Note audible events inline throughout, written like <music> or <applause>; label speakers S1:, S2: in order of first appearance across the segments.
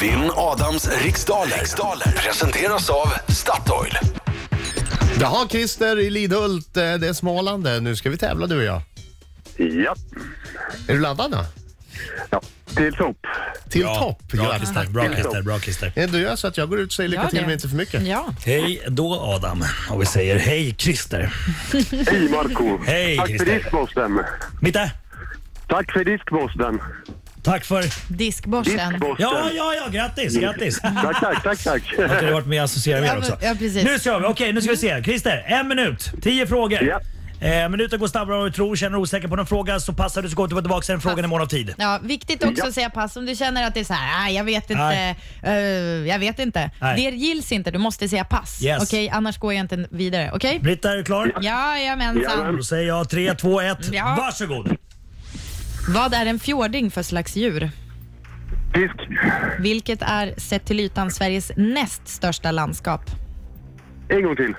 S1: Vinn Adams riksdaler. riksdaler presenteras av Statoil.
S2: Jaha, Christer i Lidhult, eh, det är Småland det. Nu ska vi tävla du och jag.
S3: Ja,
S2: Är du laddad då?
S3: ja. till topp.
S2: Till
S4: Bra.
S2: topp!
S4: Bra
S2: grattis.
S4: Christer, bra Christer, bra Christer.
S2: Eh, Du gör så att jag går ut och säger lycka
S5: Gör
S2: till
S5: det.
S2: men inte för mycket.
S5: <laughs> Ja.
S4: Hej då Adam och vi säger hej Christer.
S3: Hej Marco.
S4: <laughs> Hej,
S3: Tack för
S4: Christer.
S3: diskborsten.
S4: Mitte,
S3: Tack för diskborsten.
S4: tack för...
S5: Diskborsten.
S3: Diskborsten.
S4: Ja, ja, ja, grattis, grattis.
S3: Tack, tack, tack,
S4: <laughs>
S3: tack.
S4: Du har varit med och associerat med
S5: Ja,
S4: er också.
S5: men- ja, precis.
S4: Nu ska vi, okej nu ska vi se. Christer, en minut, tio frågor.
S3: Ja.
S4: Eh, minuten går snabbare än vad du tror. Känner du osäker på någon fråga så passar du så går du tillbaka en fråga i mån av tid.
S5: Ja, viktigt också att säga pass om du känner att det är så här, "Ah, jag vet inte,
S4: Nej.
S5: eh, jag vet inte.
S4: Nej.
S5: Det gills inte, du måste säga pass.
S4: Yes.
S5: Okej, annars går jag inte vidare. Okej?
S4: Britta, är du klar?
S5: Jajamensan.
S4: Då säger jag tre, två, ett.
S5: Ja.
S4: varsågod.
S5: Vad är en fjording för slags djur?
S3: Disk.
S5: Vilket är, sett till ytan, Sveriges näst största landskap?
S3: En gång till.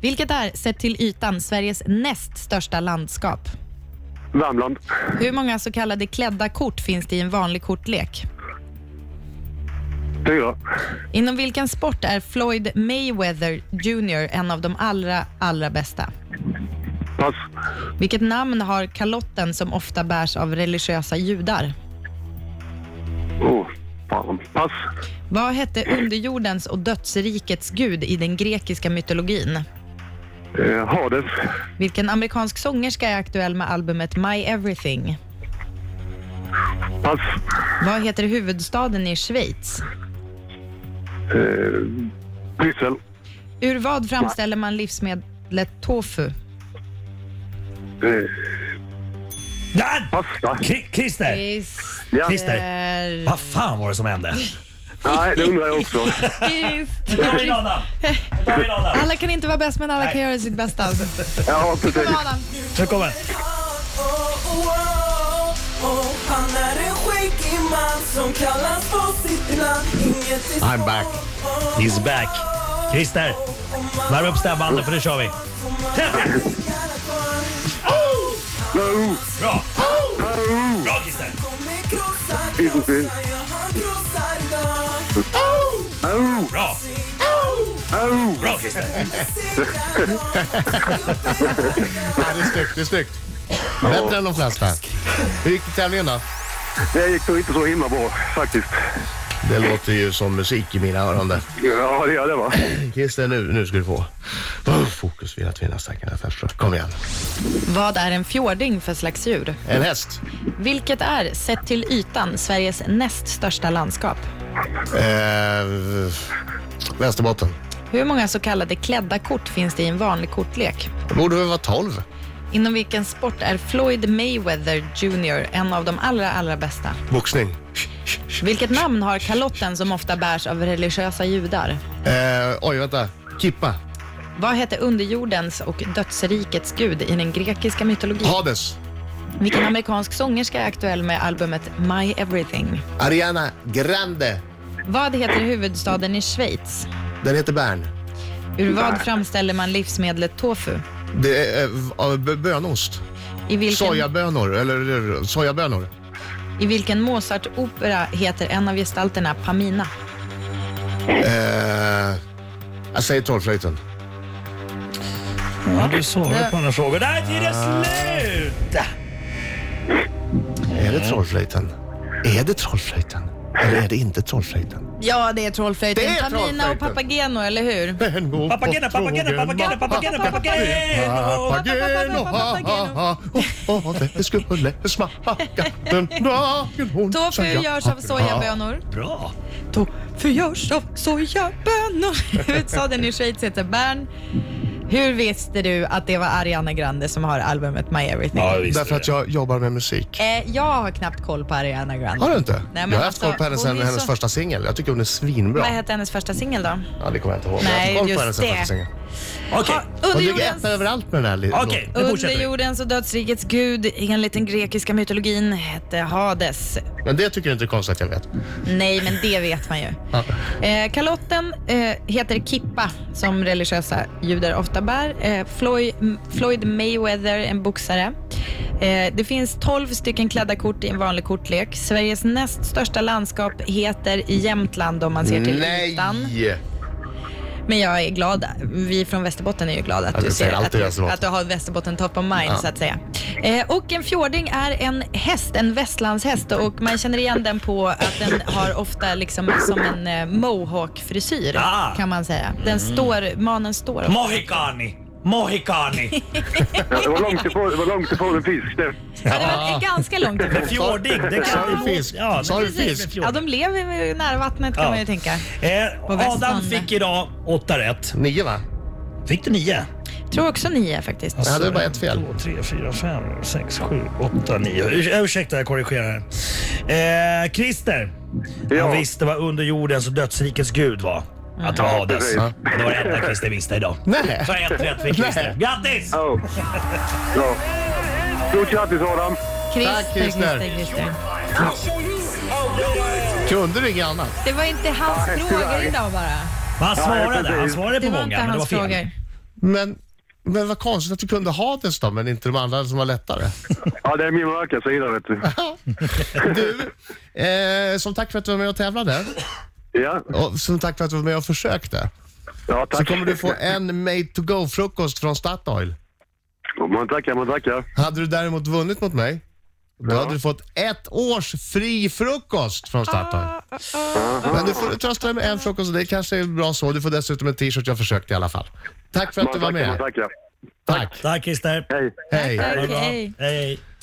S5: Vilket är, sett till ytan, Sveriges näst största landskap?
S3: Värmland.
S5: Hur många så kallade klädda kort finns det i en vanlig kortlek?
S3: Fyra.
S5: Inom vilken sport är Floyd Mayweather Jr en av de allra, allra bästa?
S3: Pass.
S5: Vilket namn har kalotten som ofta bärs av religiösa judar?
S3: Oh, fan. Pass.
S5: Vad hette underjordens och dödsrikets gud i den grekiska mytologin?
S3: Eh, Hades.
S5: Vilken amerikansk sångerska är aktuell med albumet My Everything?
S3: Pass.
S5: Vad heter huvudstaden i Schweiz?
S3: Eh, Bryssel.
S5: Ur vad framställer man livsmedlet tofu?
S3: Eh,
S4: Där!
S3: pass. va?
S4: Kri- Christer!
S3: Ja.
S4: Christer, vad fan var det som hände?
S3: Nej, det undrar jag också.
S4: Nu tar vi in Adam. Nu tar vi in Adam.
S5: Alla kan inte vara bäst, men alla kan göra sitt bästa.
S3: Ja, precis.
S5: Kom, Adam.
S4: Nu kommer.
S6: Han är en skäggig man som kallas på sitt namn Inget är
S2: I'm back.
S4: He's back. Christer, värm upp stämbanden för nu kör vi. Tävling!
S3: No.
S4: Bra! Bra Christer!
S3: Ingenting. Au,
S4: Bra!
S3: au.
S4: Bra Christer!
S2: Ja, det är snyggt, det är snyggt. Bättre än de flesta. Hur gick tävlingen då?
S3: Det gick nog inte så himla bra faktiskt.
S2: Det låter ju som musik i mina öron där.
S3: Ja, det gör det va.
S2: Christer, nu, nu ska du få. Oh, Fokus vid att vinna stacken affärsrör. Kom igen.
S5: Vad är en fjording för slags djur?
S2: En häst.
S5: Vilket är, sett till ytan, Sveriges näst största landskap?
S2: Eh, Västerbotten.
S5: Hur många så kallade klädda kort finns det i en vanlig kortlek?
S2: Det borde väl vara 12?
S5: Inom vilken sport är Floyd Mayweather Jr en av de allra, allra bästa?
S2: Boxning.
S5: Vilket namn har kalotten som ofta bärs av religiösa judar?
S2: Eh, oj, vänta. Kippa.
S5: Vad hette underjordens och dödsrikets gud i den grekiska mytologin?
S2: Hades.
S5: Vilken amerikansk sångerska är aktuell med albumet My Everything?
S2: Ariana Grande.
S5: Vad heter huvudstaden i Schweiz?
S2: Den heter Bern.
S5: Ur vad framställer man livsmedlet tofu?
S2: Det är eh, v- av b- bönost.
S5: I vilken,
S2: Sojabönor. Eller, eller sojabönor.
S5: i vilken Mozart-opera heter en av gestalterna Pamina?
S2: Eh, jag säger tolvflöjten.
S4: Ja, du svarade på några frågor. Där är tiden slut!
S2: Är det trollflöjten? Är det trollflöjten? Eller är det inte trollflöjten?
S5: Ja, det är trollflöjten.
S2: Det är
S5: Pamina
S2: trollflöjten.
S5: och Papageno, eller hur?
S4: Papageno, papageno, papageno, papageno, papageno!
S2: Papageno, ha, ha, ha. Åh, åh, det skulle smaka den dagen hon
S5: Tofu
S2: sa ja.
S5: görs av sojabönor.
S4: Bra!
S5: Tofu görs av sojabönor. <laughs> Huvudstaden i Schweiz heter Bern. Hur visste du att det var Ariana Grande som har albumet My Everything?
S4: Ja, visst.
S2: Därför att jag jobbar med musik.
S5: Eh, jag har knappt koll på Ariana Grande.
S2: Har du inte?
S5: men
S2: jag har haft
S5: alltså,
S2: koll på henne sen
S5: hon är
S2: hennes
S5: så-
S2: första singel. Jag tycker hon är svinbra.
S5: Vad hette hennes första singel då?
S2: Ja, det kommer jag inte ihåg.
S5: Nej,
S2: jag har haft koll på
S5: just
S2: henne sen
S5: det.
S2: första singeln.
S4: Okej,
S2: Hon ligger etta
S5: Underjordens,
S2: överallt med den här lilla
S4: okej, nu fortsätter vi.
S5: underjordens och dödsrikets gud enligt den grekiska mytologin hette Hades.
S2: Men det tycker du inte är konstigt att jag vet.
S5: Nej, men det vet man ju. Eh, kalotten eh, heter kippa som religiösa judar of, köttabär. Eh, Floyd, Floyd Mayweather, en boxare. Eh, det finns 12 stycken klädda kort i en vanlig kortlek. Sveriges näst största landskap heter i Jämtland om man ser till
S2: Nej!
S5: ytan. Men jag är glad, vi från Västerbotten är ju glada att,
S2: Jag
S5: du,
S2: säger
S5: ser, att,
S2: alltid
S5: du,
S2: Västerbotten.
S5: att du har Västerbotten top of mind
S2: Ja.
S5: så att säga. Eh, och en fjording är en häst, en västlandshäst och man känner igen den på att den har ofta liksom som en eh, mohawk-frisyr
S4: Ah.
S5: kan man säga. Den står, manen står. ofta.
S4: Mohikani. <laughs> Mohikani.
S3: Ja, det var långt ifrån, det var långt ifrån en fisk det.
S5: Ja, det var ganska långt ifrån.
S4: Fjordig. Det
S2: Sa
S4: kan
S2: du fisk?
S4: Ja,
S2: Sa du
S4: det-
S2: fisk?
S5: Ja, de lever ju nära vattnet kan
S4: Ja.
S5: man ju tänka.
S4: Eh,
S5: På
S4: Adam
S5: Västbandet.
S4: fick idag åtta rätt.
S2: Nio va?
S4: Fick du nio?
S5: Tror också nio faktiskt.
S2: Jag hade bara ett fel.
S4: Två, tre, fyra, fem, sex, sju, åtta, nio. Ur, ursäkta, jag korrigerar här. Eh, Christer.
S3: Ja.
S4: Han visste vad under jordens och dödsrikets gud var. Att det var Hades.
S3: precis.
S4: Ja. Det var det enda Christer visste idag.
S2: Nej.
S4: Så ett rätt fick Christer.
S2: Nej.
S4: Grattis!
S3: Ja. Ja. Stort grattis Adam!
S5: Christer,
S2: Tack, Christer.
S5: Christer, Christer.
S2: Kunde du inget annat?
S5: Det var inte hans frågor idag bara.
S4: Han svarade.
S3: precis.
S4: Han svarade på
S5: Det var
S4: många,
S5: inte
S4: men det var
S5: hans
S4: fel.
S5: frågor.
S2: Men, men vad konstigt att du kunde ha det då, men inte de andra som var
S5: <laughs>
S2: lättare.
S3: Ja, det är min mörka sida vet
S2: <laughs>
S3: du.
S2: Du, eh, som tack för att du var med och tävlade
S3: Ja,
S2: och som tack för att du var med och försökte
S3: ja tack.
S2: så kommer du få en made to go-frukost från Statoil.
S3: Man tackar, man tackar.
S2: Hade du däremot vunnit mot mig, då hade du fått ett års fri frukost från Statoil. Men du får trösta dig med en frukost och det kanske är bra så. Du får dessutom en t-shirt, jag försökte i alla fall. Tack för att
S3: Man
S2: du var
S3: tackar,
S2: med.
S3: man tackar.
S2: Tack.
S4: Tack Christer.
S3: Hej.
S2: Hej.
S4: Ha det
S5: Tack,
S4: bra.
S5: hej.
S4: Hej.